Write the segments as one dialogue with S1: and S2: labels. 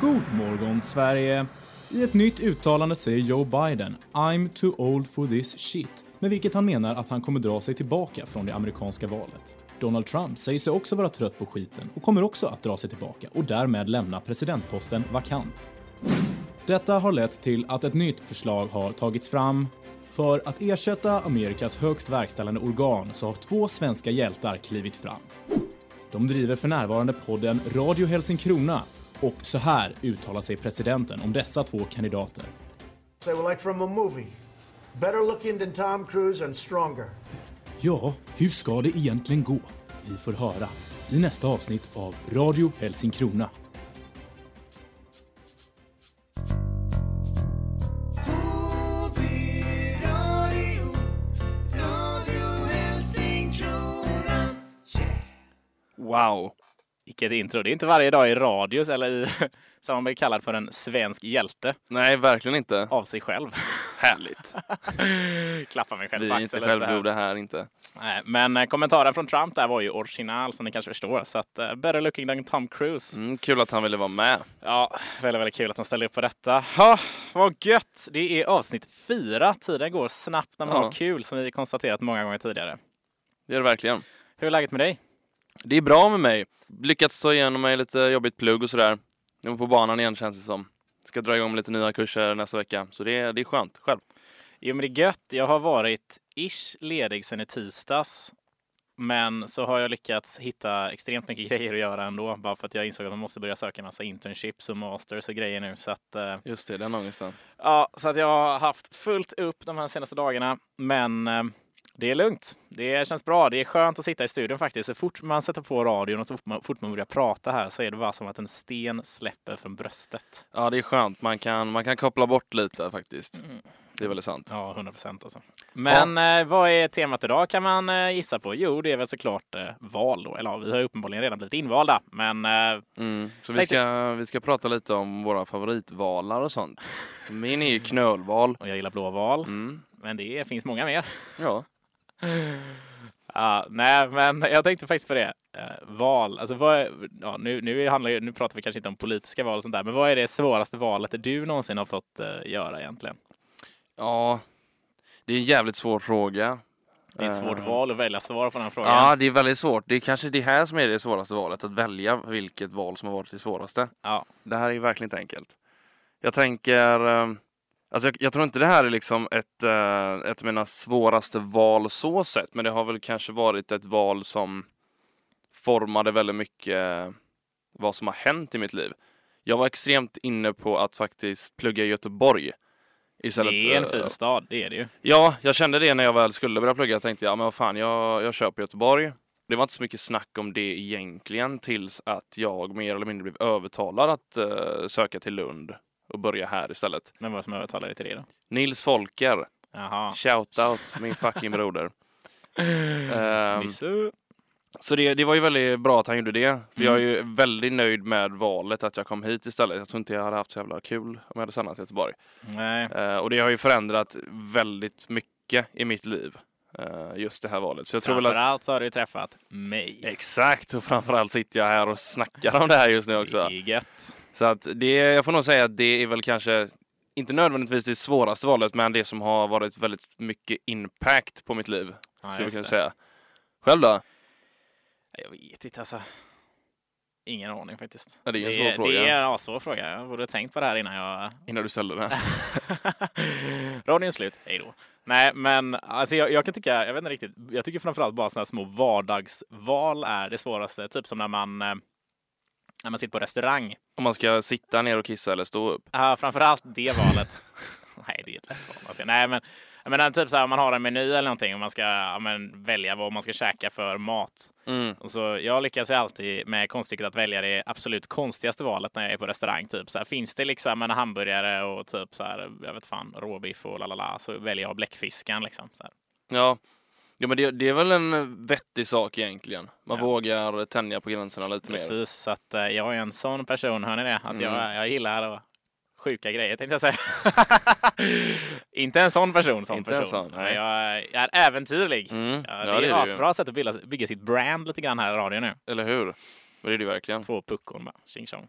S1: God morgon Sverige! I ett nytt uttalande säger Joe Biden “I'm too old for this shit” med vilket han menar att han kommer dra sig tillbaka från det amerikanska valet. Donald Trump säger sig också vara trött på skiten och kommer också att dra sig tillbaka och därmed lämna presidentposten vakant. Detta har lett till att ett nytt förslag har tagits fram. För att ersätta Amerikas högst verkställande organ så har två svenska hjältar klivit fram. De driver för närvarande podden Radio Helsingkrona och så här uttalar sig presidenten om dessa två kandidater.
S2: Say, well, like from a movie. Better looking than Tom Cruise and stronger.
S1: Ja, hur ska det egentligen gå? Vi får höra i nästa avsnitt av Radio Helsingkrona.
S3: Wow! Vilket intro. Det är inte varje dag i radios eller i, som man blir kallad för en svensk hjälte
S4: Nej, verkligen inte.
S3: av sig själv.
S4: Härligt.
S3: Klappar mig själv
S4: Vi
S3: på
S4: är inte
S3: axeln efter det här.
S4: självgjorda här inte.
S3: Nej, Men eh, kommentaren från Trump där var ju original som ni kanske förstår. Så att, eh, better looking than Tom Cruise.
S4: Mm, kul att han ville vara med.
S3: Ja, väldigt, väldigt kul att han ställde upp på detta. Ha, vad gött! Det är avsnitt fyra. Tiden går snabbt när man
S4: Ja.
S3: har kul som vi konstaterat många gånger tidigare.
S4: Det är det verkligen.
S3: Hur är läget med dig?
S4: Det är bra med mig. Lyckats ta igenom mig lite jobbigt plugg och sådär. Nu är jag på banan igen känns det som. Ska dra igång med lite nya kurser nästa vecka. Så det är, det är skönt. Själv?
S3: Jo, men det är gött. Jag har varit ish ledig sedan i tisdags. Men så har jag lyckats hitta extremt mycket grejer att göra ändå. Bara för att jag insåg att man måste börja söka en massa internships och masters och grejer nu. Så att, eh,
S4: Just det, den ångesten.
S3: ja, så att jag har haft fullt upp de här senaste dagarna. Men eh, det är lugnt. Det känns bra. Det är skönt att sitta i studion faktiskt. Så fort man sätter på radion och så fort man, fort man börjar prata här så är det bara som att en sten släpper från bröstet.
S4: Ja, det är skönt. Man kan, man kan koppla bort lite faktiskt. Det är väldigt sant.
S3: Ja, 100 procent alltså. Men eh, vad är temat idag kan man eh, gissa på? Jo, det är väl såklart eh, val då. Eller ja, vi har ju uppenbarligen redan blivit invalda, men eh,
S4: Mm. Så vi
S3: Tänkte-
S4: ska, vi ska prata lite om våra favoritvalar och sånt. Min är ju knölval.
S3: och jag gillar blå val,
S4: Mm.
S3: men det finns många mer.
S4: Ja.
S3: Ja, nej, men jag tänkte faktiskt på det. Eh, val, alltså vad är, ja, nu, nu, handlar, ju- nu pratar vi kanske inte om politiska val och sånt där, men vad är det svåraste valet du någonsin har fått eh, göra egentligen?
S4: Ja, det är en jävligt svår fråga.
S3: Det är ett svårt
S4: Eh,
S3: val att välja svar på den här frågan.
S4: Ja, det är väldigt svårt. Det är kanske det här som är det svåraste valet, att välja vilket val som har varit det svåraste.
S3: Ja.
S4: Det här är ju verkligen inte enkelt. Jag tänker, eh, alltså jag, jag tror inte det här är liksom ett, eh, ett av mina svåraste val så sett, men det har väl kanske varit ett val som formade väldigt mycket vad som har hänt i mitt liv. Jag var extremt inne på att faktiskt plugga i Göteborg. Istället
S3: det är en
S4: för-
S3: fin stad, det är det ju.
S4: Ja, jag kände det när jag väl skulle börja plugga. Jag tänkte jag, men vad fan, jag, jag kör på Göteborg. Det var inte så mycket snack om det egentligen tills att jag mer eller mindre blev övertalad att eh, söka till Lund och börja här istället.
S3: Men vad som övertalade dig till det då?
S4: Nils Folker,
S3: Jaha.
S4: shoutout min fucking broder. Ehm,
S3: Visst.
S4: så det, det var ju väldigt bra att han gjorde det. För Jag är ju väldigt nöjd med valet att jag kom hit istället. Jag tror inte jag hade haft så jävla kul om jag hade stannat i Göteborg.
S3: Nej.
S4: Eh, och det har ju förändrat väldigt mycket i mitt liv. eh, just det här valet. Så jag tror väl att...
S3: Framförallt så har du träffat mig.
S4: Exakt, och framförallt sitter jag här och snackar om det här just nu
S3: Det är
S4: också.
S3: gött.
S4: Så att det, jag får nog säga att det är väl kanske, inte nödvändigtvis det svåraste valet, men det som har varit väldigt mycket impact på mitt liv.
S3: Ja,
S4: skulle jag
S3: just
S4: kunna
S3: det.
S4: säga. Själv då?
S3: Jag vet inte alltså. Ingen aning faktiskt.
S4: Ja, det är en
S3: det,
S4: svår fråga.
S3: Det är en svår fråga. Jag borde ha tänkt på det här innan jag...
S4: Innan du ställde den.
S3: Radion är slut. Hej då. Nej, men alltså jag, jag kan tycka, jag vet inte riktigt. Jag tycker framförallt bara sådana små vardagsval är det svåraste. Typ som när man, eh, när man sitter på restaurang.
S4: Om man ska sitta ner och kissa eller stå upp.
S3: Ja, framförallt det valet. Nej, det är ett lätt val. Alltså. Nej, men jag menar, typ så här, om man har en meny eller någonting och man ska ja, men, välja vad man ska käka för mat. Och så, jag lyckas ju alltid med konststycket att välja det absolut konstigaste valet när jag är på restaurang. Typ, så här, finns det liksom en hamburgare och typ så här, jag vet fan, råbiff och lalala så väljer jag bläckfiskan. Liksom, så här.
S4: Ja. Jo men det, det är väl en vettig sak egentligen. Man
S3: Ja.
S4: vågar tänja på gränserna lite mer.
S3: Precis, så att, eh, jag är en sån person, hör ni det? Att
S4: Mm.
S3: jag, jag gillar att- sjuka grejer tänkte jag säga. inte en sån person, sån
S4: Inte en
S3: person.
S4: sån, nej.
S3: Men jag, jag är äventyrlig.
S4: Mm,
S3: Ja,
S4: ja,
S3: det
S4: det är
S3: är
S4: du
S3: ett
S4: ju.
S3: asbra sätt att bygga, bygga sitt brand lite grann här i radion nu.
S4: Eller hur? Men Det är det ju verkligen.
S3: Två puckon bara, tjing tjong.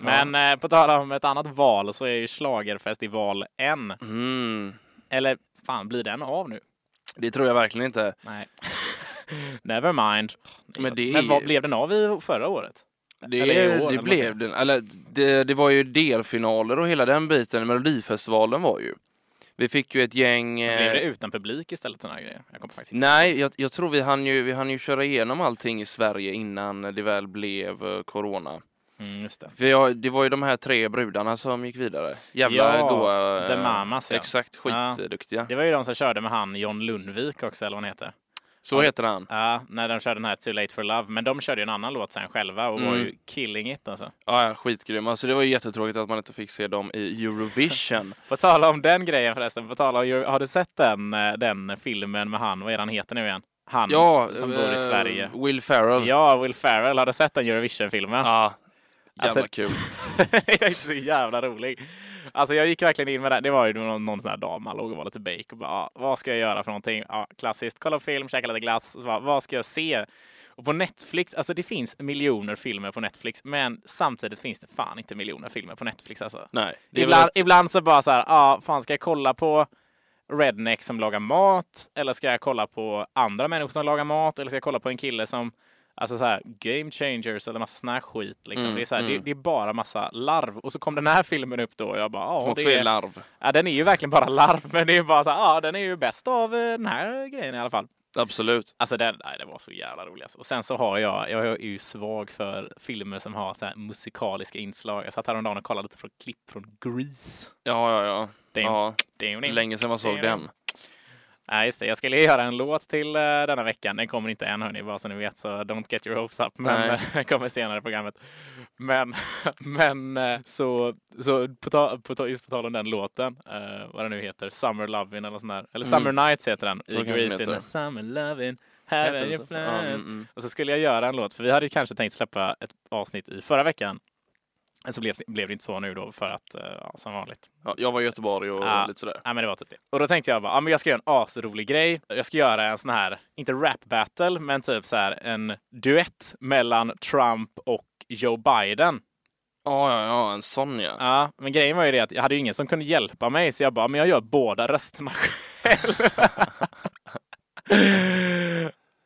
S3: Men eh, på tal om ett annat val så är ju schlagerfestival en.
S4: Mm.
S3: Eller fan, blir den av nu?
S4: Det tror jag verkligen inte.
S3: Nej. Never mind.
S4: Men det är-
S3: Men vad blev den av i förra året?
S4: Det,
S3: Eller i år, eller
S4: det
S3: vad säger
S4: blev den. Eller, det, det var ju delfinaler och hela den biten. Melodifestivalen var ju. Vi fick ju ett gäng... eh,
S3: Blev det utan publik istället sådana här grejer? Jag kommer faktiskt inte.
S4: Nej, jag, jag tror vi hann, ju, vi hann ju köra igenom allting i Sverige innan det väl blev eh, corona.
S3: Mm, just det.
S4: För jag, det var ju de här tre brudarna som gick vidare. Jävla
S3: Ja,
S4: goa... eh,
S3: The Mamas, ja.
S4: Exakt,
S3: Ja.
S4: skitduktiga.
S3: Det var ju de som körde med han John Lundvik också, eller vad han heter.
S4: Så heter han.
S3: Ja, när de körde den här Too Late For Love. Men de körde ju en annan låt sen själva och var
S4: Mm.
S3: ju killing it alltså.
S4: Ja, ja, skitgrym. Alltså det var ju jättetråkigt att man inte fick se dem i Eurovision.
S3: På tala om den grejen förresten, på tala om, Euro- har du sett den, eh, den filmen med han, vad är han heter nu igen? Han
S4: Ja,
S3: som bor
S4: eh,
S3: i Sverige.
S4: Will Ferrell.
S3: Ja, Will Ferrell, har du sett den Eurovision-filmen?
S4: Ja, jävla
S3: Alltså-
S4: kul.
S3: jag är så jävla rolig. Alltså jag gick verkligen in med det. Det var ju någon, någon sån här dam, man låg och var lite bake och bara, ah, vad ska jag göra för någonting? Ja, klassiskt, kolla på film, käka lite glass. Så Bara, vad ska jag se? Och på Netflix, alltså det finns miljoner filmer på Netflix, men samtidigt finns det fan inte miljoner filmer på Netflix alltså.
S4: Nej, det är väl
S3: Ibland,
S4: att-
S3: ibland så bara så här, ja, fan ska jag kolla på redneck som lagar mat? Eller ska jag kolla på andra människor som lagar mat? Eller ska jag kolla på en kille som, alltså så här, game changers eller massa sån här skit liksom.
S4: Mm,
S3: det, är så här, det,
S4: mm.
S3: det är bara massa larv. Och så kom den här filmen upp då och jag bara, ja,
S4: också
S3: det
S4: är
S3: är,
S4: larv.
S3: ja den är ju verkligen bara larv. Men det är bara så här, ja, den är ju bäst av eh, den här grejen i alla fall.
S4: Absolut.
S3: Alltså den, nej, det var så jävla roligt. Alltså. Och sen så har jag, jag är ju svag för filmer som har så här musikaliska inslag. Jag satt häromdagen och kollade lite på klipp från Grease.
S4: Ja, ja, ja.
S3: Det är-
S4: ja.
S3: Det är ju en-
S4: Länge sedan man såg
S3: Det är det.
S4: den.
S3: Nej, just det. Jag skulle ju göra en låt till eh, denna veckan. Den kommer inte än hörni, bara så ni vet. Så don't get your hopes up. Men
S4: Nej.
S3: eh, den kommer senare i programmet. Men, men eh, så, så på, ta, på, ta, just på tal om den låten, eh, vad den nu heter, Summer Lovin eller sån där. Eller Summer Nights heter den.
S4: Mm. Så kan
S3: I
S4: den
S3: Grease
S4: heta.
S3: heter Summer Lovin. Have
S4: Happens.
S3: you
S4: Ja, mm,
S3: plans?
S4: mm.
S3: Och så skulle jag göra en låt, för vi hade ju kanske tänkt släppa ett avsnitt i förra veckan. Men så blev, blev det inte så nu då för att, eh, ja, som vanligt,
S4: Ja, jag var i Göteborg och
S3: Ja.
S4: lite sådär.
S3: Ja, men det var typ det. Och då tänkte jag bara, ja, men jag ska göra en asrolig grej. Jag ska göra en sån här, inte rap battle, men typ så här en duett mellan Trump och Joe Biden.
S4: Ja, ja, ja, en sån ja.
S3: Ja, men grejen var ju det att jag hade ju ingen som kunde hjälpa mig, så jag bara, men jag gör båda rösterna själv.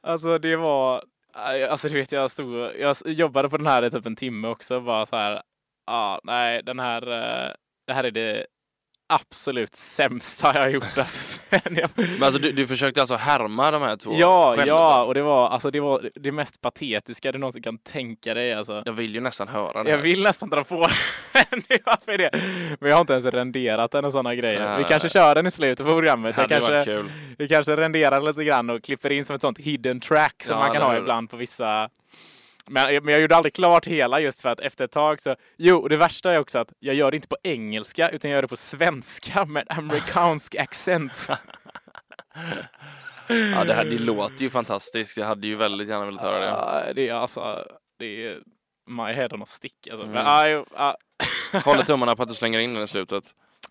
S3: alltså det var, alltså du vet jag stod, jag jobbade på den här i typ en timme också, bara så här, ja, nej, den här, eh, det här är det absolut sämsta jag har gjort. Alltså, sen jag,
S4: Men alltså du, du försökte alltså härma de här två?
S3: ja,
S4: skämten?
S3: ja, och det var, alltså det var det mest patetiska du någonsin kan tänka dig alltså.
S4: Jag vill ju nästan höra det
S3: Jag
S4: här.
S3: vill nästan dra på den. Det är Varför det? Men jag har inte ens renderat den och sådana grejer.
S4: Nej,
S3: vi
S4: nej,
S3: kanske
S4: nej.
S3: kör den i slutet på
S4: Det
S3: programmet. Jag
S4: hade varit
S3: kanske,
S4: kul.
S3: vi kanske renderar den lite grann och klipper in som ett sånt hidden track som
S4: Ja,
S3: man kan
S4: det
S3: ha
S4: hade-
S3: ibland på vissa. Men, men jag gjorde aldrig klart hela just för att efter ett tag så. Jo, och det värsta är också att jag gör det inte på engelska utan jag gör det på svenska med amerikansk accent.
S4: Ja, det, här, det låter ju fantastiskt. Jag hade ju väldigt gärna velat höra det.
S3: Ja, det är alltså, det är my head on a stick alltså.
S4: Mm.
S3: Men, ah, jo, ah.
S4: Håller tummarna på att du slänger in den i slutet.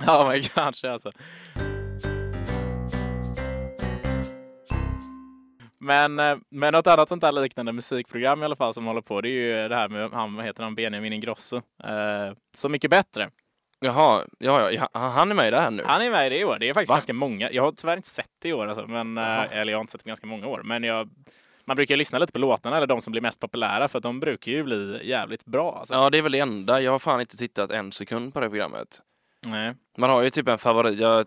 S3: Ja, men kanske alltså. Men, eh, men något annat sånt där liknande musikprogram i alla fall som håller på, det är ju det här med han, vad heter han, Benjamin Ingrosso. Eh, så mycket bättre.
S4: Jaha, ja, ja, ja, han är med i det här nu?
S3: Han är med i det i år. Det är faktiskt
S4: Va?
S3: ganska många. Jag har tyvärr inte sett det i år, alltså, men, eh,
S4: Jaha.
S3: eller jag har inte sett det ganska många år. Men jag, man brukar ju lyssna lite på låtarna, eller de som blir mest populära, för att de brukar ju bli jävligt bra. Alltså.
S4: Ja, det är väl det enda. Jag har fan inte tittat en sekund på det här programmet.
S3: Nej.
S4: Man har ju typ en favorit. Jag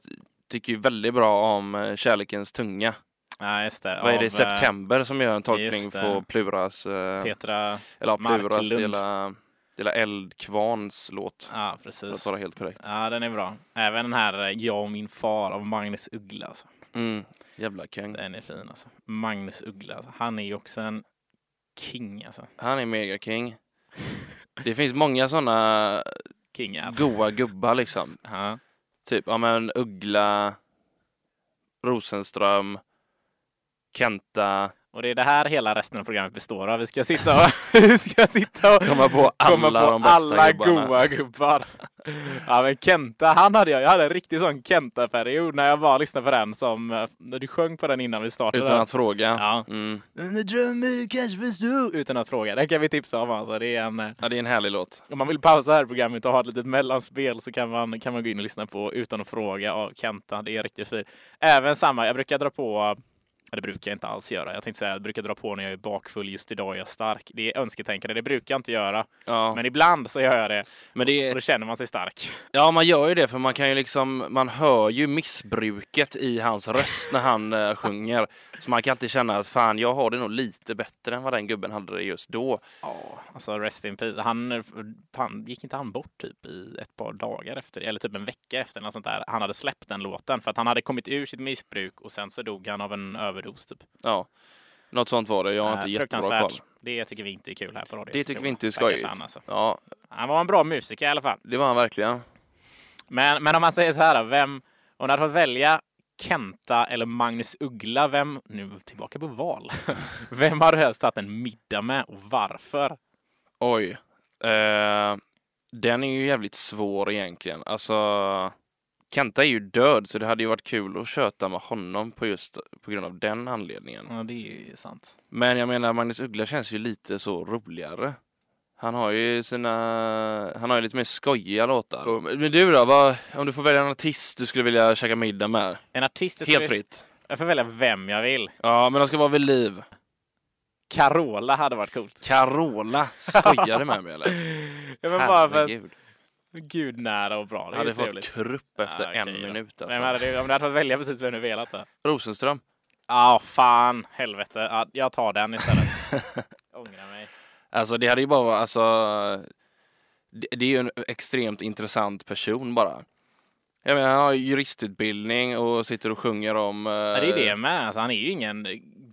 S4: tycker ju väldigt bra om eh, Kärlekens tunga.
S3: Ja, just det.
S4: Vad är
S3: Av,
S4: det?
S3: eh,
S4: September som gör en tolkning
S3: just det.
S4: på Pluras... eh,
S3: Petra.
S4: Eller ja, Pluras,
S3: Marklund.
S4: hela, hela Eldkvarns låt.
S3: Ja,
S4: För att
S3: precis.
S4: vara helt korrekt.
S3: Ja, den är bra. Även den här eh, Jag och min far av Magnus Uggla. Alltså.
S4: Mm. Jävla kung.
S3: Den är fin alltså. Magnus Uggla, alltså. han är ju också en king alltså.
S4: Han är mega king. Det finns många såna
S3: King är.
S4: goa gubbar liksom.
S3: Ja.
S4: Typ, ja men Uggla, Rosenström, Kenta.
S3: Och det är det här hela resten av programmet består av. Vi ska sitta och, vi ska sitta och
S4: Komma på alla
S3: komma på
S4: de bästa
S3: alla
S4: gubbarna.
S3: goa gubbar. Ja men Kenta, han hade jag. Jag hade en riktig sån Kenta-period när jag bara lyssnade på den som, eh, när du sjöng på den innan vi startade.
S4: Utan att fråga.
S3: Ja.
S4: Mm.
S3: Under drömmer du kanske förstår. Utan att fråga. Den kan vi tipsa om alltså. Det är en, eh,
S4: ja, det är en härlig låt.
S3: om man vill pausa här i programmet och ha ett litet mellanspel så kan man, kan man gå in och lyssna på Utan att fråga av Kenta. Det är riktigt fint. Även samma, jag brukar dra på ja, det brukar jag inte alls göra. Jag tänkte säga, jag brukar dra på när jag är bakfull. Just idag är jag stark. Det är önsketänkande. Det brukar jag inte göra.
S4: Ja.
S3: Men ibland så gör jag det.
S4: Men det
S3: Och
S4: är,
S3: då känner man sig stark.
S4: ja, man gör ju det för man kan ju liksom, man hör ju missbruket i hans röst när han eh, sjunger. Så man kan alltid känna att fan, jag har det nog lite bättre än vad den gubben hade det just då.
S3: Alltså rest in peace. Han, han gick inte han bort typ i ett par dagar efter det, eller typ en vecka efter eller något sånt där. Han hade släppt den låten för att han hade kommit ur sitt missbruk och sen så dog han av en överdos typ.
S4: Ja, något sånt var det. Jag har inte
S3: Eh,
S4: jättebra koll.
S3: Det tycker vi inte är kul här på radio.
S4: Det tycker vi inte är skojigt.
S3: Han, alltså.
S4: Ja,
S3: han var en bra musiker i alla fall.
S4: det var han verkligen.
S3: Men, men om man säger så här, då, vem, om du hade fått välja Kenta eller Magnus Uggla, vem, nu tillbaka på val, vem har du helst tagit en middag med och varför?
S4: Oj. Eh, den är ju jävligt svår egentligen. Alltså, Kenta är ju död så det hade ju varit kul att köta med honom på just på grund av den anledningen.
S3: Ja, det är ju sant.
S4: Men jag menar, Magnus Uggla känns ju lite så roligare. Han har ju sina, han har ju lite mer skojiga låtar. Och- Men du då, vad, om du får välja en artist du skulle vilja käka middag med?
S3: En artist... jag
S4: Helt
S3: skulle-
S4: fritt.
S3: Jag får välja vem jag vill.
S4: Ja, men de ska vara vid liv.
S3: Carola hade varit coolt.
S4: Carola, skojar du med mig eller?
S3: Jag var bara för
S4: Herregud.
S3: gud nära och bra. Det
S4: Jag
S3: är ju
S4: hade fått
S3: trevligt.
S4: krupp efter
S3: Ja, okej
S4: en
S3: då.
S4: minut alltså.
S3: Vem hade du, om du hade fått välja precis vem du velat då?
S4: Rosenström.
S3: Ja, fan helvete. Ja, jag tar den istället. Ångrar mig.
S4: Alltså det hade ju bara, alltså. Det, det är ju en extremt intressant person bara. Jag menar, han har ju juristutbildning och sitter och sjunger om... eh,
S3: Ja, det är det med. Alltså, han är ju ingen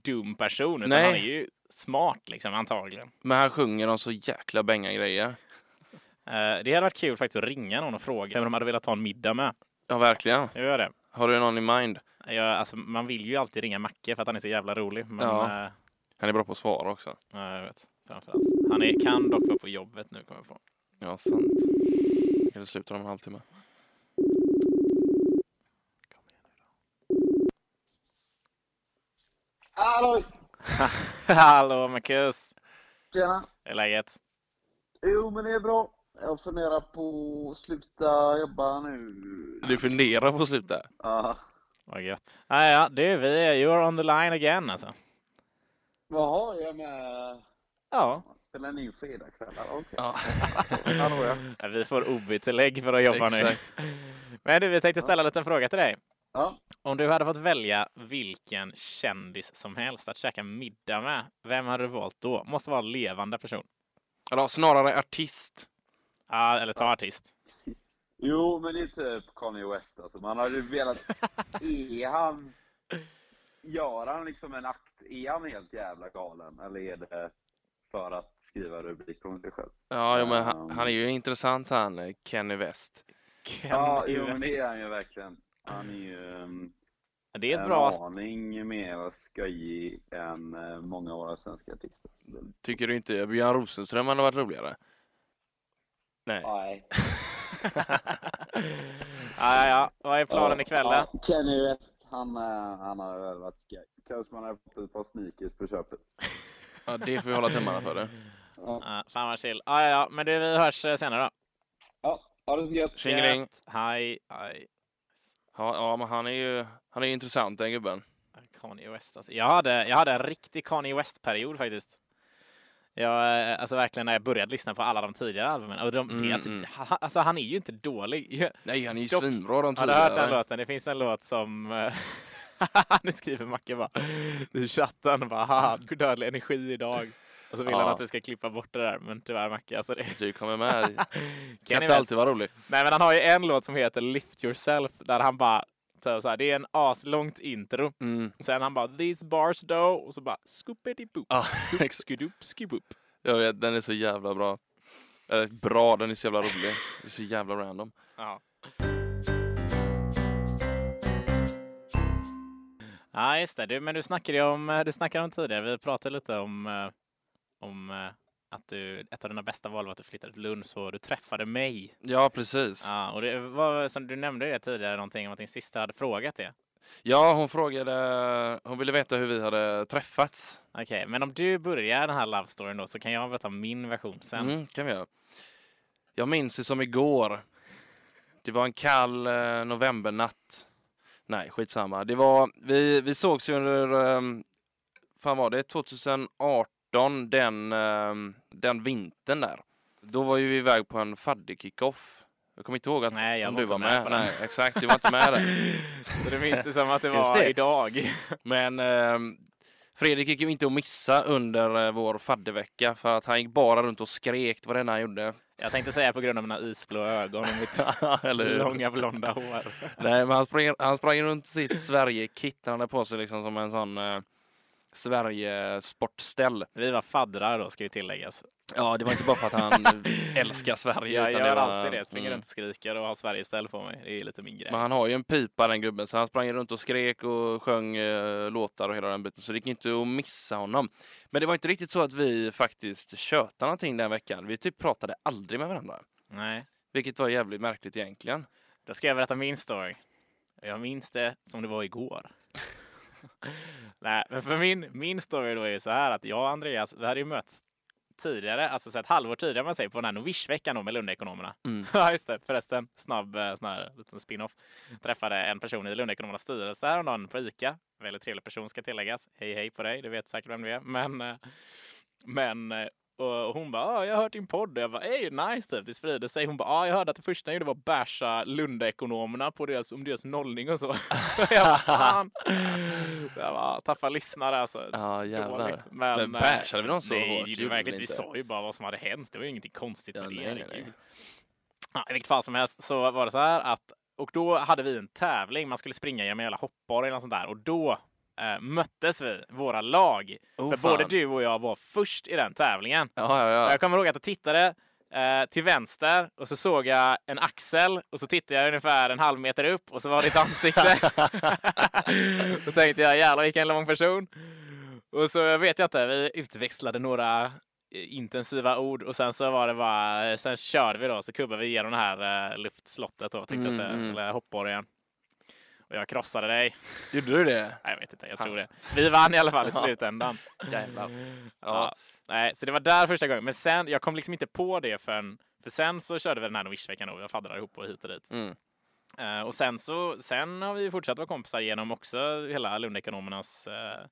S3: dum person, utan
S4: Nej.
S3: han är ju smart liksom antagligen.
S4: Men han sjunger om så jäkla bänga grejer.
S3: Eh, det hade varit kul faktiskt att ringa någon och fråga vem de hade velat ta en middag med.
S4: Ja, verkligen.
S3: Nu gör jag det.
S4: Har du någon i mind?
S3: Jag, alltså, man vill ju alltid ringa Macke för att han är så jävla rolig. Men,
S4: Ja.
S3: eh,
S4: Han är bra på att svara också.
S3: Ja, jag vet. Framförallt. Han är, kan dock vara på jobbet nu, kommer jag på.
S4: Ja, sant. Jag vill sluta om en halvtimme.
S5: Hallå!
S3: Hallå Marcus!
S5: Tjena!
S3: Hur är läget?
S5: Jo, men det är bra. Jag funderar på att sluta jobba nu.
S4: Du funderar på att sluta?
S5: Ja.
S3: Vad gött. Ah, ja, du, vi är you're on the line again alltså.
S5: Jaha, jag är med.
S3: Ja.
S5: Spelar ni fredagskvällar? Okej.
S4: Ja.
S5: Hallå, ja.
S3: Vi får OB-tillägg för att jobba
S4: Exakt.
S3: nu. Men du, vi tänkte ställa en liten fråga till dig.
S5: Ja.
S3: Om du hade fått välja vilken kändis som helst att käka middag med, vem hade du valt då? Måste vara en levande person.
S4: Eller snarare artist.
S3: Ja, eller ta artist.
S5: Jo, men det är typ Kanye West alltså. Man hade ju velat... Är han... Gör han liksom en akt? Är han helt jävla galen? Eller är det för att skriva rubrik om sig själv?
S4: Ja, jo, men han,
S5: Ehm.
S4: han är ju intressant han, eh, Kenny West.
S3: Ken
S5: Ja,
S3: i
S5: jo, men
S3: väst.
S5: det är han ju verkligen. Han är ju... ehm,
S3: det är ett
S5: en
S3: bra...
S5: aning mer skojig än eh, många av våra svenska artister.
S4: Tycker du inte Björn Rosenström hade varit roligare? Nej.
S5: Nej.
S3: ja, ja, ja. Vad är planen ikväll eh. då?
S5: Ja, Kenny West, han, eh, han har väl varit skoj. Kanske man har fått ett par sneakers på köpet.
S4: Ja, det får vi hålla tummarna för. Det.
S3: Ja, fan vad chill. Ja, ja, ja, men du, vi hörs eh, senare då.
S5: Ja, ha det så gött.
S4: Tjingeling!
S3: Gött. Hej, hej.
S4: Ja, ja, men han är ju han är ju intressant den gubben.
S3: Kanye West alltså. jag, hade, jag hade en riktig Kanye West-period faktiskt. Jag, eh, alltså verkligen när jag började lyssna på alla de tidigare albumen. Och de,
S4: Mm,
S3: det, alltså,
S4: mm.
S3: ha- alltså, han är ju inte dålig. Jag,
S4: Nej, han är ju
S3: Dock-
S4: svinbra de
S3: har du hört den
S4: tidigare.
S3: låten? Det finns en låt som... eh, nu skriver Macke bara i chatten bara haha, dödlig energi idag. Och så vill
S4: Ja.
S3: han att vi ska klippa bort det där, men tyvärr Macke, alltså det
S4: Du kommer med. Kan
S3: Kanye
S4: inte
S3: West.
S4: alltid vara rolig.
S3: Nej men han har ju en låt som heter Lift Yourself där han bara så så här, det är en aslångt intro.
S4: Mm.
S3: Sen han bara these bars though och så bara scoopity boop
S4: Ja,
S3: scoop skidoop skiboop.
S4: Jag vet, den är så jävla bra. Eller bra, den är så jävla rolig. Det är så jävla random.
S3: Ja. Ja, just det. Du, men du snackade ju om, eh, du snackade om tidigare. Vi pratade lite om, eh, om eh, att du, ett av dina bästa val var att du flyttade till Lund så du träffade mig.
S4: Ja, precis. Ja.
S3: Ja, och det var som du nämnde det tidigare någonting om att din syster hade frågat det.
S4: hon frågade, hon ville veta hur vi hade träffats.
S3: Okej, men om du börjar den här love storyn då så kan jag berätta min version sen.
S4: Mm, kan vi göra. Jag minns det som igår. Det var en kall eh, novembernatt. Nej, skitsamma. Det var, vi, vi sågs ju under, ehm, fan var det, 2018, den, ehm, den vintern där. Då var ju vi iväg på en fadderkick-off. Jag kommer inte ihåg att,
S3: Nej, jag
S4: om
S3: var
S4: du
S3: inte
S4: var
S3: med
S4: med.
S3: på den.
S4: Nej, exakt, du var inte med där.
S3: Så du minns det som att det
S4: Just
S3: var
S4: det.
S3: idag.
S4: Men ehm, Fredrik gick ju inte att missa under eh, vår faddervecka för att han gick bara runt och skrek, det var det enda han gjorde.
S3: Jag tänkte säga på grund av mina isblå ögon och mitt
S4: Eller hur?
S3: långa blonda hår.
S4: Nej, men han sprang, han sprang runt sitt Sverige-kit, han hade på sig liksom som en sån eh, Sverige-sportställ.
S3: Vi var faddrar då, ska ju tilläggas.
S4: Ja, det var inte bara för att han älskar Sverige.
S3: Jag
S4: utan
S3: gör
S4: var,
S3: alltid det, springer
S4: mm.
S3: runt och skriker och har Sveriges ställ på mig. Det är lite min grej.
S4: Men han har ju en pipa den gubben, så han sprang runt och skrek och sjöng eh, låtar och hela den biten, så det gick inte att missa honom. Men det var inte riktigt så att vi faktiskt tjötade någonting den veckan. Vi typ pratade aldrig med varandra.
S3: Nej,
S4: Vilket var jävligt märkligt egentligen.
S3: då ska jag berätta min story. Jag minns det som det var igår. Nej, men för min, min story då är ju så här att jag och Andreas, vi hade ju mötts tidigare, alltså så ett halvår tidigare om man säger, på den här Novishveckan då med Lundaekonomerna.
S4: Mm.
S3: Ja, just det. Förresten, snabb eh, sån här liten spin-off. Träffade en person i Lundaekonomernas styrelse häromdagen på ICA. Väldigt trevlig person ska tilläggas. Hej, hej på dig. Du vet säkert vem du är. Men, eh, men eh, och och hon bara, "Ah, jag har hört din podd. Och Jag bara, ej, nice typ. Det sprider sig. Hon bara, "Ah, jag hörde att det första jag gjorde var att basha Lundaekonomerna på deras, om deras nollning och så. jag bara, fan. Jag bara, "Ah, tappa lyssnare alltså.
S4: Ja,
S3: Dåligt.
S4: jävlar.
S3: Men,
S4: Men
S3: eh,
S4: bashade vi dem så
S3: nej,
S4: hårt?
S3: det gjorde vi
S4: Gjorde vi
S3: verkligen inte. Vi
S4: inte.
S3: sa ju bara vad som hade hänt. Det var ju ingenting konstigt
S4: Ja,
S3: med det.
S4: nej, nej,
S3: herregud.
S4: nej.
S3: Ja, I vilket fall som helst så var det så här att och då hade vi en tävling. Man skulle springa genom en jävla hoppborg eller något sånt där och då eh, möttes vi, våra lag.
S4: Oh,
S3: För
S4: fan.
S3: både du och jag var först i den tävlingen.
S4: Ja, ja, ja.
S3: Jag kommer ihåg att jag tittade eh, till vänster och så såg jag en axel och så tittade jag ungefär en halv meter upp och så var ditt ansikte. Då tänkte jag jävlar vilken lång person. Och så vet jag inte, vi utväxlade några eh, intensiva ord och sen så var det bara, eh, sen körde vi då så kubbade vi igenom det här eh, luftslottet då tänkte jag säga,
S4: Mm, mm.
S3: eller hoppborgen. Och jag krossade dig.
S4: Gjorde du det?
S3: Nej, jag vet inte, jag
S4: Fan.
S3: tror det. Vi vann i alla fall i
S4: Ja.
S3: slutändan.
S4: Jävlar.
S3: Ja.
S4: Ja.
S3: Nej, så det var där första gången. Men sen, jag kom liksom inte på det förrän, för sen så körde vi den här Novish-veckan och vi faddrade ihop och hit och dit.
S4: Mm.
S3: Eh, och sen så, sen har vi ju fortsatt vara kompisar genom också hela Lundekonomernas uh,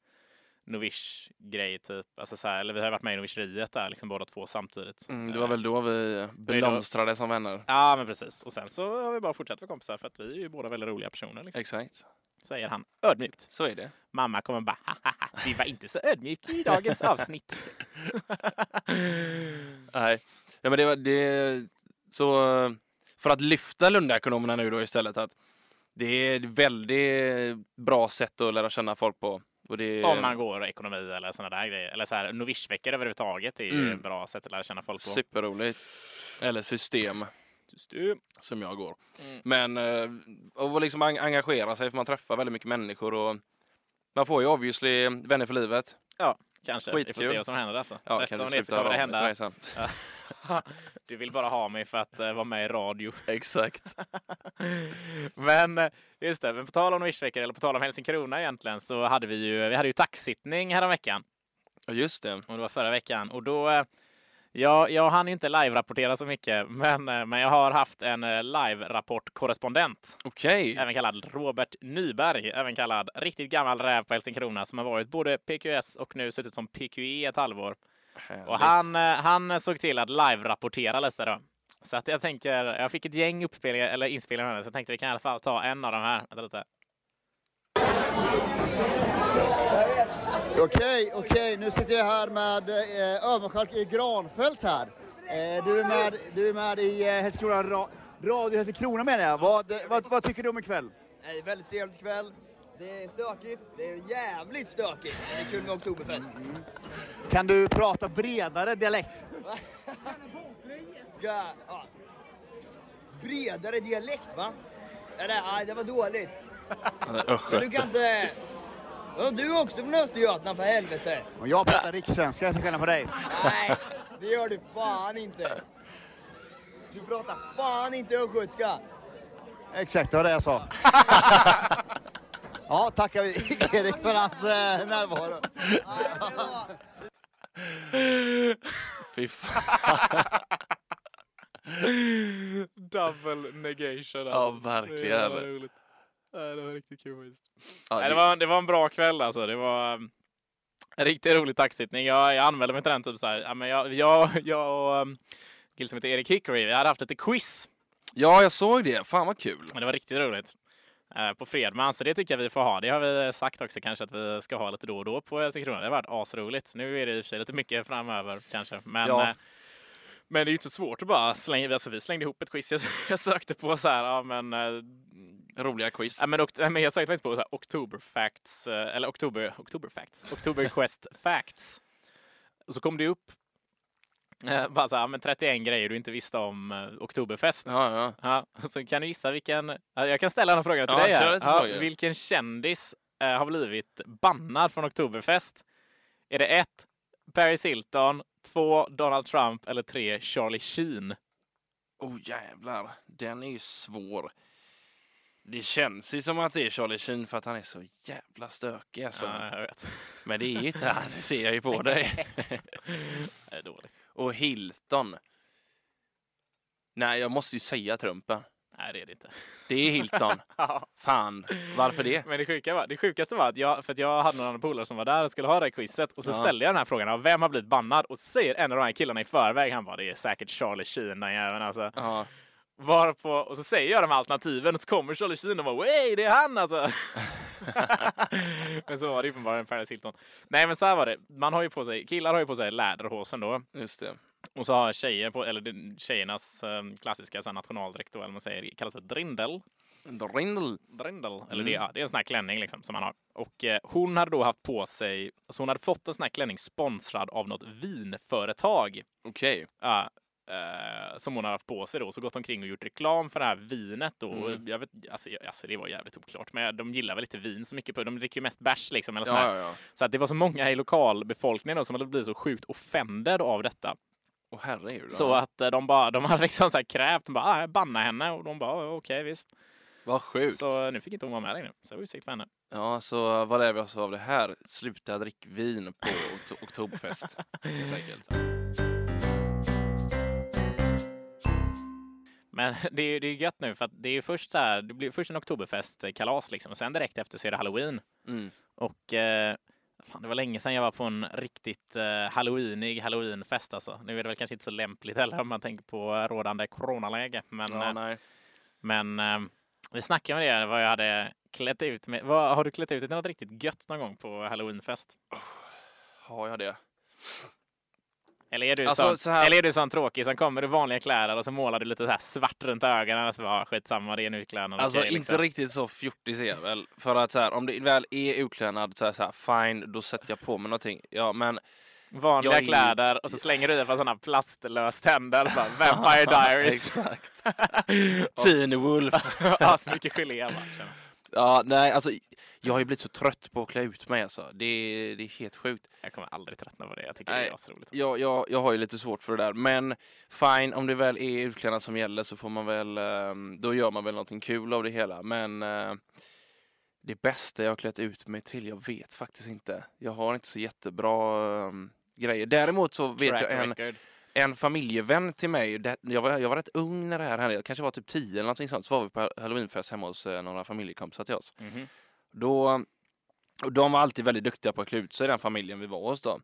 S3: Novish-grej typ. Alltså så här, eller vi har varit med i Novisheriet där liksom båda två samtidigt.
S4: Mm, det var väl då vi
S3: Eh,
S4: blomstrade som vänner.
S3: Ja, men precis. Och sen så har vi bara fortsatt vara kompisar för att vi är ju båda väldigt roliga personer. Liksom.
S4: Exakt.
S3: Säger han ödmjukt.
S4: Så är det.
S3: Mamma kommer bara haha, vi var inte så ödmjuka i dagens avsnitt.
S4: Nej. Ja, men det var det... Så eh, för att lyfta Lundaekonomerna nu då istället att det är ett väldigt bra sätt att lära känna folk på. Och det,
S3: Om man går ekonomi eller sådana där grejer. Eller så här, novishveckor överhuvudtaget är ju
S4: Mm.
S3: ett bra sätt att lära känna folk på.
S4: Superroligt. Eller system
S3: System.
S4: som jag går.
S3: Mm.
S4: Men eh, och liksom en- engagera sig för man träffar väldigt mycket människor och man får ju obviously vänner för livet.
S3: Ja, kanske. Vi får
S4: Skitkul.
S3: se vad som händer alltså.
S4: Ja,
S3: Rätt
S4: kan
S3: som
S4: du
S3: det är så
S4: sluta
S3: kommer det
S4: rama till
S3: hända.
S4: mig sen?
S3: du vill bara ha mig för att eh, vara med i radio.
S4: Exakt.
S3: men eh, just det, men på tal om novishveckor eller på tal om Helsingkrona egentligen så hade vi ju, vi hade ju taxittning häromveckan.
S4: Ja, just det.
S3: om det var förra veckan. Och då, eh, jag, jag hann ju inte live-rapportera så mycket, men, eh, men jag har haft en eh, live-rapport-korrespondent,
S4: Okej.
S3: även kallad Robert Nyberg, även kallad riktigt gammal räv på Hälsingkrona som har varit både PQS och nu suttit som PQE ett halvår. Och han, eh, han såg till att live-rapportera lite då. Så att jag tänker, jag fick ett gäng uppspelningar, eller inspelningar med så jag tänkte vi kan i alla fall ta en av de här. Vänta lite.
S6: Okej, okej. Nu sitter jag här med eh, överskölk i Granfält här. Eh, du, är med, du är med i eh, Hässelkrona, ra, Radio Hässelkrona menar jag. Vad, vad, vad tycker du om ikväll?
S7: Nej, Det är väldigt trevligt ikväll. Det är stökigt. Det är jävligt stökigt. Men det är kul med Oktoberfest.
S6: Kan du prata bredare dialekt?
S7: Ska... Ja. Bredare dialekt, va? Eller, nej, det var dåligt. Men du kan inte... Vadå, du är också från Östergötland för helvete?
S6: Och jag pratar rikssvenska till skillnad från dig.
S7: Nej, det gör du fan inte. Du pratar fan inte östgötska.
S6: Exakt, det var det jag sa. Ja, tackar vi Erik för hans eh, närvaro.
S7: Nej, det var-
S4: Fy fan.
S3: Double negation.
S4: Ja, verkligen.
S3: Det var, roligt. Nej, det var riktigt kul faktiskt.
S4: Ja,
S3: Nej, det,
S4: det-
S3: var, det var en bra kväll alltså. Det var um, en riktigt rolig taxittning. Jag, jag anmälde mig till den typ så här. Ja, men jag, jag, jag och um, en kille som heter Erik Hickory, vi hade haft lite quiz.
S4: Ja, jag såg det. Fan vad kul.
S3: Men det var riktigt roligt. eh, På Fredman, så det tycker jag vi får ha. Det har vi sagt också kanske att vi ska ha lite då och då på Hälsingland Krona. Det har varit asroligt. Nu är det i och för sig lite mycket framöver kanske. Men,
S4: Ja.
S3: eh, men det är ju inte så svårt att bara slänga. Alltså, vi slängde ihop ett quiz. Jag, jag sökte på så här, ja men eh,
S4: Roliga quiz.
S3: Ja, men, okt- nej, men jag sökte faktiskt på så här, October Facts, eh, eller October, October Facts, October Quest Facts. Och så kom det upp eh, bara så här, men 31 grejer du inte visste om eh, Oktoberfest. Ja.
S4: Ja, ja.
S3: och så kan du gissa vilken, ja, jag kan ställa den här frågan till
S4: Ja,
S3: dig.
S4: kör
S3: Här.
S4: lite
S3: Ja,
S4: frågor.
S3: vilken kändis eh, har blivit bannad från Oktoberfest? Är det ett Paris Hilton, två Donald Trump eller tre Charlie Sheen?
S4: Oh jävlar, den är ju svår. Det känns ju som att det är Charlie Sheen för att han är så jävla stökig alltså.
S3: Ja, jag vet.
S4: Men det är ju inte han, det ser jag ju på dig.
S3: Det
S4: eh,
S3: är dåligt.
S4: Och Hilton. Nej, jag måste ju säga Trumpen.
S3: Nej, det är det inte.
S4: Det är Hilton. Fan, varför det?
S3: Men det, sjuka var, det sjukaste var att jag, för att jag hade några andra polare som var där och skulle ha det här quizet och så
S4: Ja.
S3: ställde jag den här frågan av vem har blivit bannad och så säger en av de här killarna i förväg, han bara det är säkert Charlie Sheen den jäveln alltså.
S4: Ja,
S3: Varpå, och så säger jag de här alternativen och så kommer Charlie Sheen och bara wey det är han alltså. men så var det uppenbarligen Paris Hilton. Nej men så här var det, man har ju på sig, killar har ju på sig läderhosen då.
S4: just det.
S3: Och så har tjejer på, eller det- tjejernas eh, klassiska så här, nationaldräkt då, eller vad man säger, kallas för drindel.
S4: Drindl.
S3: Brindel, eller det,
S4: Mm.
S3: ja, det är en sån här klänning liksom som man har. Och eh, hon hade då haft på sig, alltså hon hade fått en sån här klänning sponsrad av något vinföretag
S4: Okej.
S3: ja, eh, som hon hade haft på sig då. Så gått omkring och gjort reklam för det här vinet då. Och
S4: Mm.
S3: Jag vet, alltså, jag, alltså det var jävligt oklart, men de gillar väl inte vin så mycket. på De dricker ju mest bärs liksom. Eller sån
S4: Ja,
S3: här.
S4: ja, ja.
S3: Så att det var så många i lokalbefolkningen då, som hade blivit så sjukt offended av detta.
S4: Åh herregud.
S3: Så att eh, de bara, de hade liksom så här krävt, de bara, ah, banna henne. Och de bara, "Ah, okej visst.
S4: Vad sjukt.
S3: Så eh, nu fick inte hon vara med längre. Så det var ju sikt för henne.
S4: Ja, så vad lär vi oss av det här? Sluta drick vin på okt- Oktoberfest, helt enkelt.
S3: Men det är, det är gött nu för att det är ju först där, det blir först en oktoberfestkalas liksom och sen direkt efter så är det halloween.
S4: Mm.
S3: Och eh, fan, det var länge sedan jag var på en riktigt eh, halloweenig halloweenfest alltså. Nu är det väl kanske inte så lämpligt heller om man tänker på rådande coronaläge. Men,
S4: Ja,
S3: eh,
S4: nej.
S3: men eh, vi snackade med det vad jag hade klätt ut med. Vad, har du klätt ut dig till något riktigt gött någon gång på halloweenfest?
S4: Har jag det?
S3: Eller är du,
S4: Alltså,
S3: sån,
S4: så här-
S3: eller är du sån tråkig som kommer i vanliga kläder och så målar du lite så här svart runt ögonen och så bara "Ah, skitsamma det är nu kläderna.
S4: Alltså
S3: okej, liksom.
S4: inte riktigt så fjortis är jag väl. För att så här, om det väl är utklädnad så här, så här, fine, då sätter jag på mig någonting. Ja, men
S3: vanliga
S4: Jag är-
S3: kläder och så slänger du i ett par sådana plastlöständer. så bara, Vampire Diaries.
S4: Exakt. Teen Wolf.
S3: ja, så mycket gelé. bara, känner.
S4: Ja, nej, alltså jag har ju blivit så trött på att klä ut mig alltså. Det, är- det är helt sjukt.
S3: Jag kommer aldrig tröttna på det. Jag tycker det
S4: Nej,
S3: är asroligt.
S4: Jag, jag, jag har ju lite svårt för det där, men fine, om det väl är utklädnad som gäller så får man väl, ehm, då gör man väl någonting kul av det hela, men eh, det bästa jag har klätt ut mig till, jag vet faktiskt inte. Jag har inte så jättebra ehm, grejer. Däremot så vet
S3: Track
S4: jag en,
S3: record.
S4: en familjevän till mig, det, jag, var, jag var rätt ung när det här hände, jag kanske var typ 10 eller någonting sånt, så var vi på halloweenfest hemma hos eh, några familjekompisar till oss.
S3: Mhm.
S4: Då, och de var alltid väldigt duktiga på att klä ut sig, den familjen vi var hos då.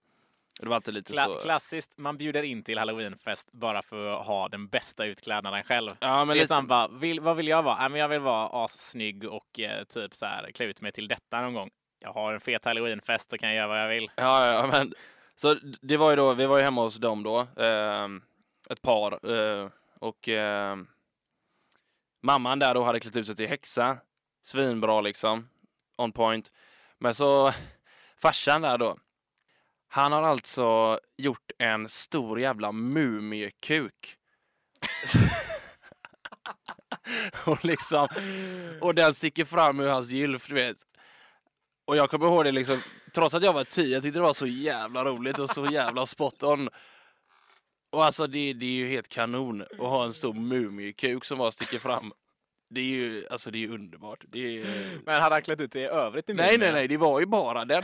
S4: Det var alltid lite
S3: Kla-
S4: så...
S3: klassiskt, man bjuder in till halloweenfest bara för att ha den bästa utklädnaden själv.
S4: Ja,
S3: det är
S4: men lite,
S3: som bara, vill, vad vill jag vara? Nej, men jag vill vara assnygg och eh, typ så här, klä ut mig till detta någon gång. Jag har en fet halloweenfest och kan göra vad jag vill.
S4: ja, ja, men, så d- det var ju då, vi var ju hemma hos dem då, ehm, ett par, eh, och ehm, mamman där då hade klätt ut sig till häxa, svinbra liksom, on point. Men så farsan där då, han har alltså gjort en stor jävla mumiekuk. och liksom, och den sticker fram ur hans gylf, du vet. Och jag kommer ihåg det liksom, trots att jag var tio, jag tyckte det var så jävla roligt och så jävla spot on. Och alltså det, det är ju helt kanon att ha en stor mumiekuk som bara sticker fram. Det är ju, alltså det är ju underbart. Det är...
S3: Men hade han klätt ut sig i övrigt i
S4: Nej,
S3: mumin?
S4: nej, nej, det var ju bara den.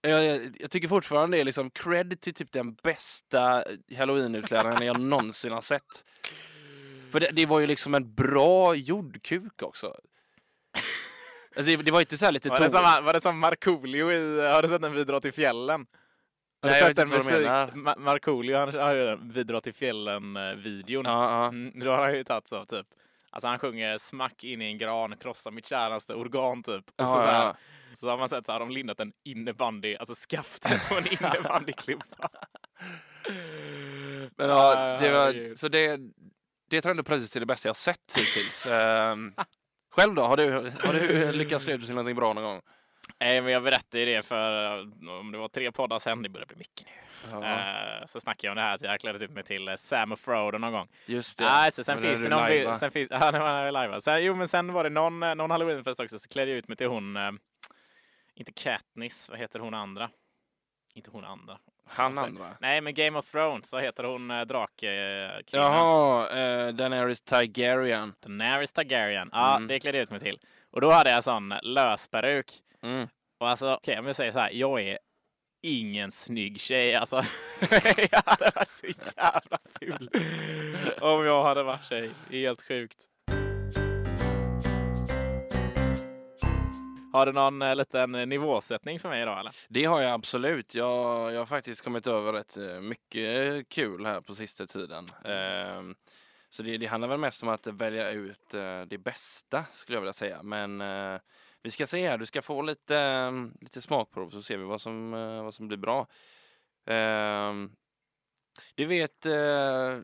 S4: Jag, jag, jag tycker fortfarande det är liksom cred till typ den bästa halloween-utklädnaden jag någonsin har sett. För det, det var ju liksom en bra jordkuk också. Alltså det, det var inte så här lite
S3: Var det,
S4: tå-
S3: som, var det som Markoolio i... Har du sett den Vi drar till fjällen? Har
S4: Nej,
S3: du
S4: jag
S3: sett
S4: vet inte vad du menar.
S3: Ma- Markoolio, han har ju den Vi drar till fjällen-videon.
S4: Ja, ja.
S3: Mm, då har han ju tagits av typ... Alltså han sjunger smack in i en gran, krossa mitt käraste organ typ. Och så,
S4: Ja,
S3: så, här,
S4: ja.
S3: så har man sett så här, de lindat en innebandy, alltså skaftet på en innebandyklubba.
S4: Men
S3: Ja,
S4: ja, det var,
S3: herregud.
S4: så det, det tar ändå priset till det bästa jag sett hittills. Ehm, själv då? Har du, har du lyckats leva till någonting bra någon gång?
S3: Nej, men jag berättade ju det för eh, om det var tre poddar sen, det börjar bli mycket nu.
S4: Ja,
S3: Eh, så snackade jag om det här att jag klädde ut mig till eh, Sam och Frodo någon gång.
S4: just det.
S3: Nej, så sen
S4: Men när
S3: finns
S4: du
S3: det någon...
S4: lajvar.
S3: bild- Sen finns, ja, det var jag live. Sen, jo, men sen var det någon, eh, någon halloweenfest också, så klädde jag ut mig till hon... Eh, inte Katniss, vad heter hon andra? Inte hon andra. Alltså-
S4: Han andra?
S3: Nej, men Game of Thrones, vad heter hon eh, drakkvinnan?
S4: Jaha, eh, Daenerys Targaryen.
S3: Daenerys Targaryen. Ja,
S4: Mm.
S3: det klädde jag ut mig till. Och då hade jag sån lös peruk.
S4: Mm.
S3: Och alltså, okej, om jag säger så här, jag är ingen snygg tjej alltså. jag hade varit så jävla ful om jag hade varit tjej. Helt sjukt. Har du någon eh, liten eh, nivåsättning för mig idag eller?
S4: Det har jag absolut. Jag, jag har faktiskt kommit över rätt eh, mycket kul här på sista tiden. Ehm, så det, det handlar väl mest om att välja ut eh, det bästa skulle jag vilja säga. Men eh, vi ska se här, du ska få lite, eh, lite smakprov så ser vi vad som, eh, vad som blir bra. Ehm, du vet, eh,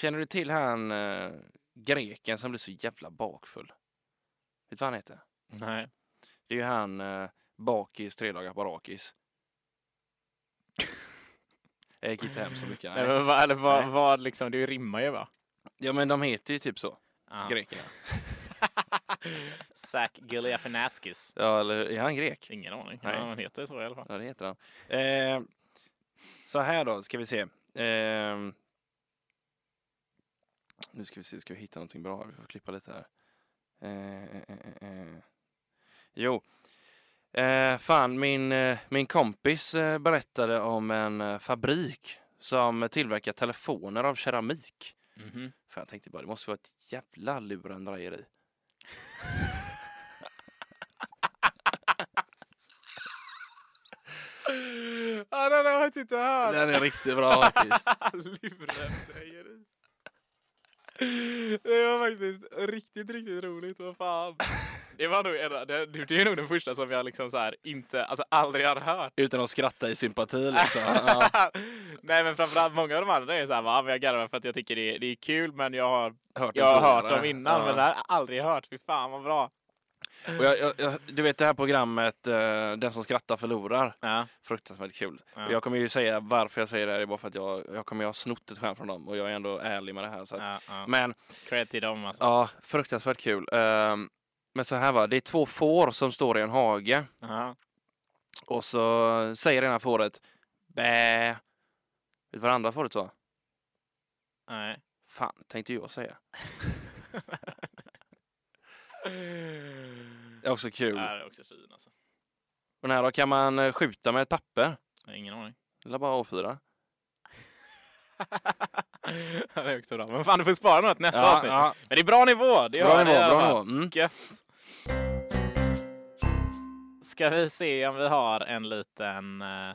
S4: känner du till han eh, greken som blir så jävla bakfull? Vet du vad han heter?
S3: Nej.
S4: Det är ju han eh, Bakis, tre dagar på rakis. Jag gick inte hem så mycket.
S3: Nej.
S4: Nej.
S3: men vad- Eller vad,
S4: Nej.
S3: vad liksom, det rimmar ju va?
S4: Ja men de heter ju typ så,
S3: Ja.
S4: grekerna.
S3: Zac Galifianakis.
S4: Ja eller är han grek?
S3: Ingen aning.
S4: Nej.
S3: Ja, han heter så i alla fall.
S4: Ja det heter han. Eh, så här då, ska vi se. Ehm, nu ska vi se, ska vi hitta någonting bra? Vi får klippa lite här. Eh, eh, eh, eh. Jo. Eh, fan, min, eh, min kompis eh, berättade om en eh, fabrik som tillverkar telefoner av keramik.
S3: Mhm.
S4: För jag tänkte bara, det måste vara ett jävla lurendrejeri.
S3: Ja, den har jag inte hört.
S4: Den är riktigt bra faktiskt.
S3: Ah, Lurendrejeri. Det var faktiskt riktigt, riktigt roligt. Vad fan. Det, var nog, en- det, det är nog den första som jag liksom så här inte, alltså aldrig har hört.
S4: Utan att skratta i sympati liksom. Ja.
S3: Nej men framförallt många av de andra är så här, va, men jag garvar för att jag tycker det är, det är kul men jag har,
S4: Hört
S3: jag har
S4: tidigare.
S3: hört dem innan
S4: Ja.
S3: men det här har jag aldrig hört. Fy fan vad bra.
S4: Och jag, jag, jag, du vet det här programmet, eh, Den som skrattar förlorar.
S3: Ja.
S4: Fruktansvärt kul.
S3: Ja.
S4: Och Jag kommer ju säga varför jag säger det här, det är bara för att jag, jag kommer ju ha snott ett skämt från dem och jag är ändå ärlig med det här. Så att,
S3: Ja, ja.
S4: Men
S3: Cred till dem alltså.
S4: ja, fruktansvärt kul. Ehm, men så här va, det är två får som står i en hage
S3: Ja.
S4: och så säger det ena fåret bä. Vet du vad det andra fåret sa?
S3: Nej.
S4: Fan, tänkte jag säga. Det är också kul.
S3: Ja, det är också fin alltså.
S4: Och den här då kan man eh, skjuta med ett papper.
S3: Jag har Ingen aning.
S4: Eller bara A4.
S3: Ja, det är också bra. Men fan, du får spara något nästa
S4: Ja,
S3: avsnitt.
S4: ja.
S3: Men det är bra nivå. Det
S4: Bra
S3: gör det i
S4: nivå,
S3: alla
S4: bra
S3: fall.
S4: nivå. Mm.
S3: Gött. Ska vi se om vi har en liten eh,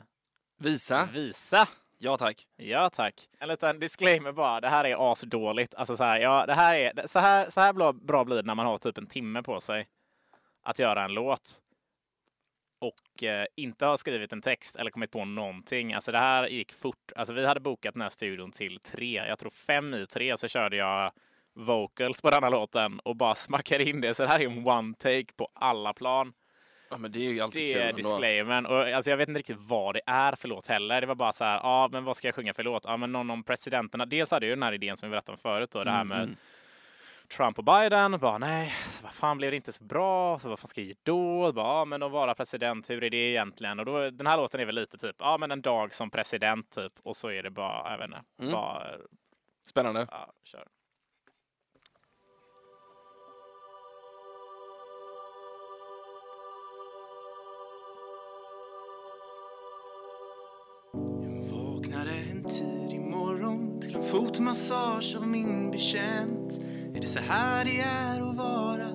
S4: Visa.
S3: visa?
S4: Ja tack.
S3: Ja tack. En liten disclaimer bara. Det här är asdåligt. Alltså så här, ja, det här är, så här, så här bra, bra blir det när man har typ en timme på sig att göra en låt och eh, inte har skrivit en text eller kommit på någonting. Alltså det här gick fort. Alltså vi hade bokat den här studion till tre. Jag tror fem i tre så körde jag vocals på den här låten och bara smackade in det. Så det här är en one take på alla plan.
S4: Ja, men det är ju alltid
S3: Det
S4: kul
S3: är
S4: ändå.
S3: disclaimern. Och alltså, jag vet inte riktigt vad det är för låt heller. Det var bara så här, ja, ah,
S4: Mm,
S3: men vad ska jag sjunga för låt? Ja, ah, men någon om presidenterna. Dels hade jag ju den här idén som vi berättade om förut då, det här med Trump och Biden. Bara, nej, så vad fan blev det inte så bra? Så vad fan ska jag ge då? Bara, ja, men att vara president, hur är det egentligen? Och då, den här låten är väl lite typ, ja, men en dag som president typ. Och så är det bara, jag vet inte,
S4: Mm.
S3: bara,
S4: Spännande.
S3: ja, kör.
S8: Jag vaknade en tidig morgon till en fotmassage av min betjänt. Är det så här det är att vara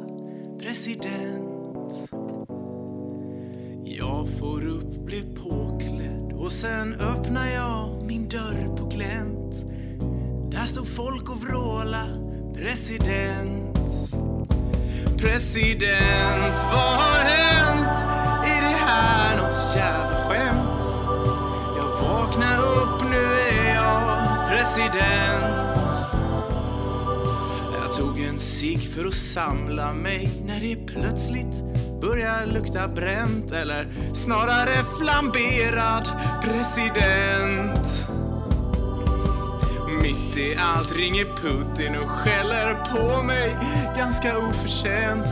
S8: president? Jag får upp, blir påklädd och sen öppnar jag min dörr på glänt. Där står folk och vrålar president. President, vad har hänt? Är det här något jävla skämt? Jag vaknar upp, nu är jag president. Jag tog en cigg för att samla mig när det plötsligt börjar lukta bränt eller snarare flamberad president. Mitt i allt ringer Putin och skäller på mig ganska oförtjänt.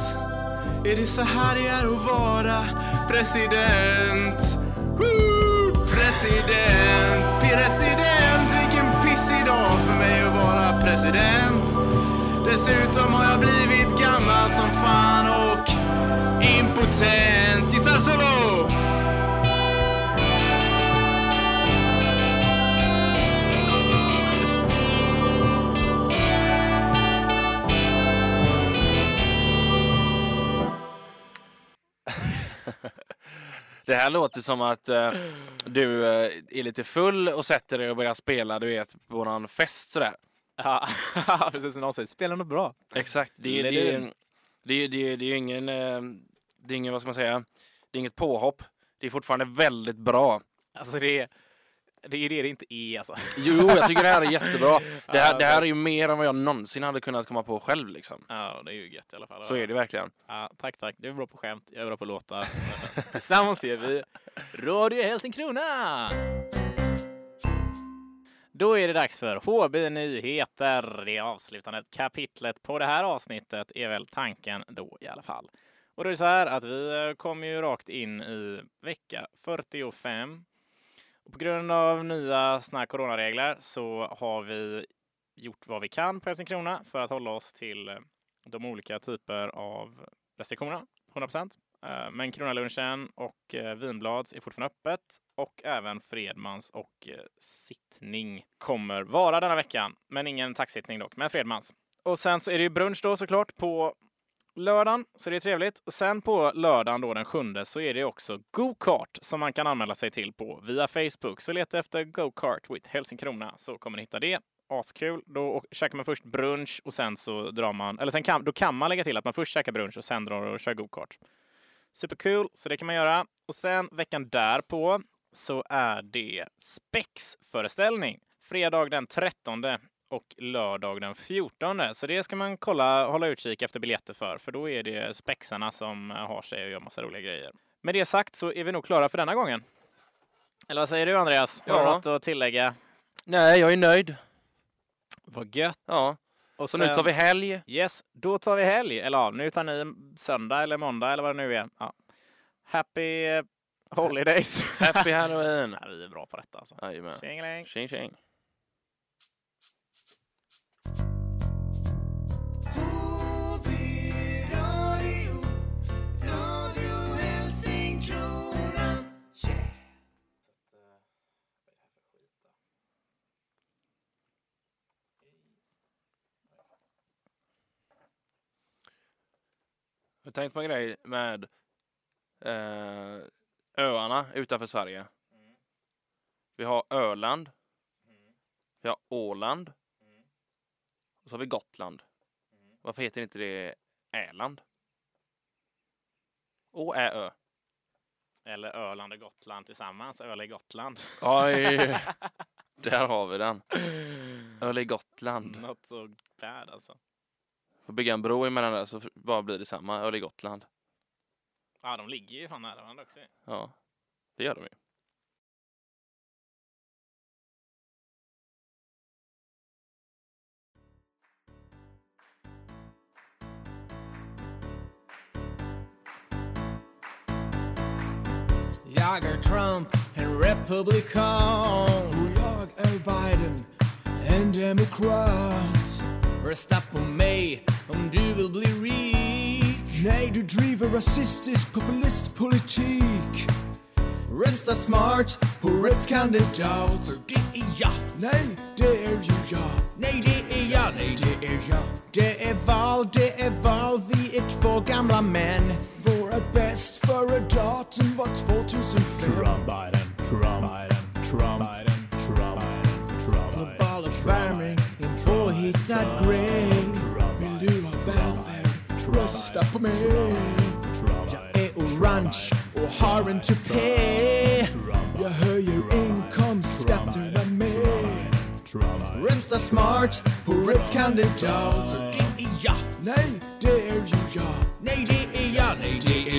S8: Är det så här det är att vara president? Woo! President, president, vilken pissig dag för mig att vara president. Dessutom har jag blivit gammal som fan och impotent. Gitarrsolo!
S4: Det här låter som att eh, du eh, är lite full och sätter dig och börjar spela, du vet, på någon fest sådär.
S3: Ja, precis som någon säger, spelar något bra.
S4: Exakt. Det är, det,
S3: Leder
S4: är,
S3: in.
S4: det, är, det, är, det är ingen, eh, det är ingen, vad ska man säga, det är inget påhopp. Det är fortfarande väldigt bra.
S3: Alltså det är det, är det, det inte är alltså.
S4: Jo, jag tycker det här är jättebra. Det här,
S3: Ja,
S4: det här är ju mer än vad jag någonsin hade kunnat komma på själv liksom.
S3: Ja, det är ju gött i alla fall.
S4: Så är det verkligen.
S3: Ja, tack, tack. Du är bra på skämt, jag är bra på låtar. Tillsammans är vi Radio Helsingkrona! Då är det dags för HB Nyheter. Det avslutande kapitlet på det här avsnittet är väl tanken då i alla fall. Och det är det så här att vi eh, kom ju rakt in i vecka 45. Och på grund av nya såna här coronaregler så har vi gjort vad vi kan på Helsingkrona för att hålla oss till eh, de olika typer av restriktioner, 100 procent. Eh, Men Kronalunchen och eh, Vinblads är fortfarande öppet och även Fredmans och eh, sittning kommer vara denna veckan. Men ingen taxittning dock, men Fredmans. Och sen så är det ju brunch då såklart på lördagen, så det är trevligt. Och sen på lördagen då den sjunde så är det också go-kart som man kan anmäla sig till på via Facebook. Så leta efter go-kart with Helsingkrona så kommer ni hitta det askul. Då å- käkar man först brunch och sen så drar man, eller sen kan, då kan man lägga till att man först käkar brunch och sen drar och kör gokart. Superkul, så det kan man göra. Och sen veckan därpå så är det spexföreställning. Fredag den 13 och lördag den 14. Så det ska man kolla, hålla utkik efter biljetter för, för då är det spexarna som eh, har sig och gör massa roliga grejer. Med det sagt så är vi nog klara för denna gången. Eller vad säger du Andreas? Har du
S4: Ja.
S3: något att tillägga?
S4: Nej, jag är nöjd.
S3: Vad gött!
S4: Ja,
S3: Och
S4: så nu tar vi helg.
S3: Yes, då tar vi helg. Eller ja, nu tar ni söndag eller måndag eller vad det nu är. Ja. Happy eh, holidays.
S4: Happy halloween.
S3: Nej, vi är bra på detta alltså.
S4: Jajamän.
S3: Tjingeling.
S4: Tjing tjing. Jag har tänkt på en grej med eh, öarna utanför Sverige. Vi har Öland. Vi har Åland. Och så har vi Gotland. Varför heter inte det Äland? Å, Ä, Ö.
S3: Eller Öland och Gotland tillsammans. Öl i Gotland.
S4: Oj, där har vi den. Öle Gotland.
S3: Not so bad alltså.
S4: Får bygga en bro emellan där så f- bara blir det samma. Öle Gotland.
S3: Ja, de ligger ju fan nära varandra också.
S4: Ja, det gör de ju.
S8: Jag är Trump, en republikan. Och jag är Biden, en demokrat. Rösta på mig om du vill bli rik. Nej, du driver rasistisk populistpolitik. Rösta smart på rätt kandidat. För det är jag. Nej, det er är ju jag. Nej, det är jag. Nej, det är jag. Det är val, det är val. Vi är två gamla er män. Våra bäst före-datum var 2005.
S1: Biden, Trump, Biden, Trump, Biden, Trump, Biden, Trump,
S8: Global uppvärmning, en påhittad grej. Vill du ha välfärd? Rösta på mig. Jag är er orange och har en tupé. Jag höjer inkomstskatterna med. Rösta smart på rätt er kandidat. För er det är jag. Nej, det är ju jag. Nej, det är jag. Nej, det är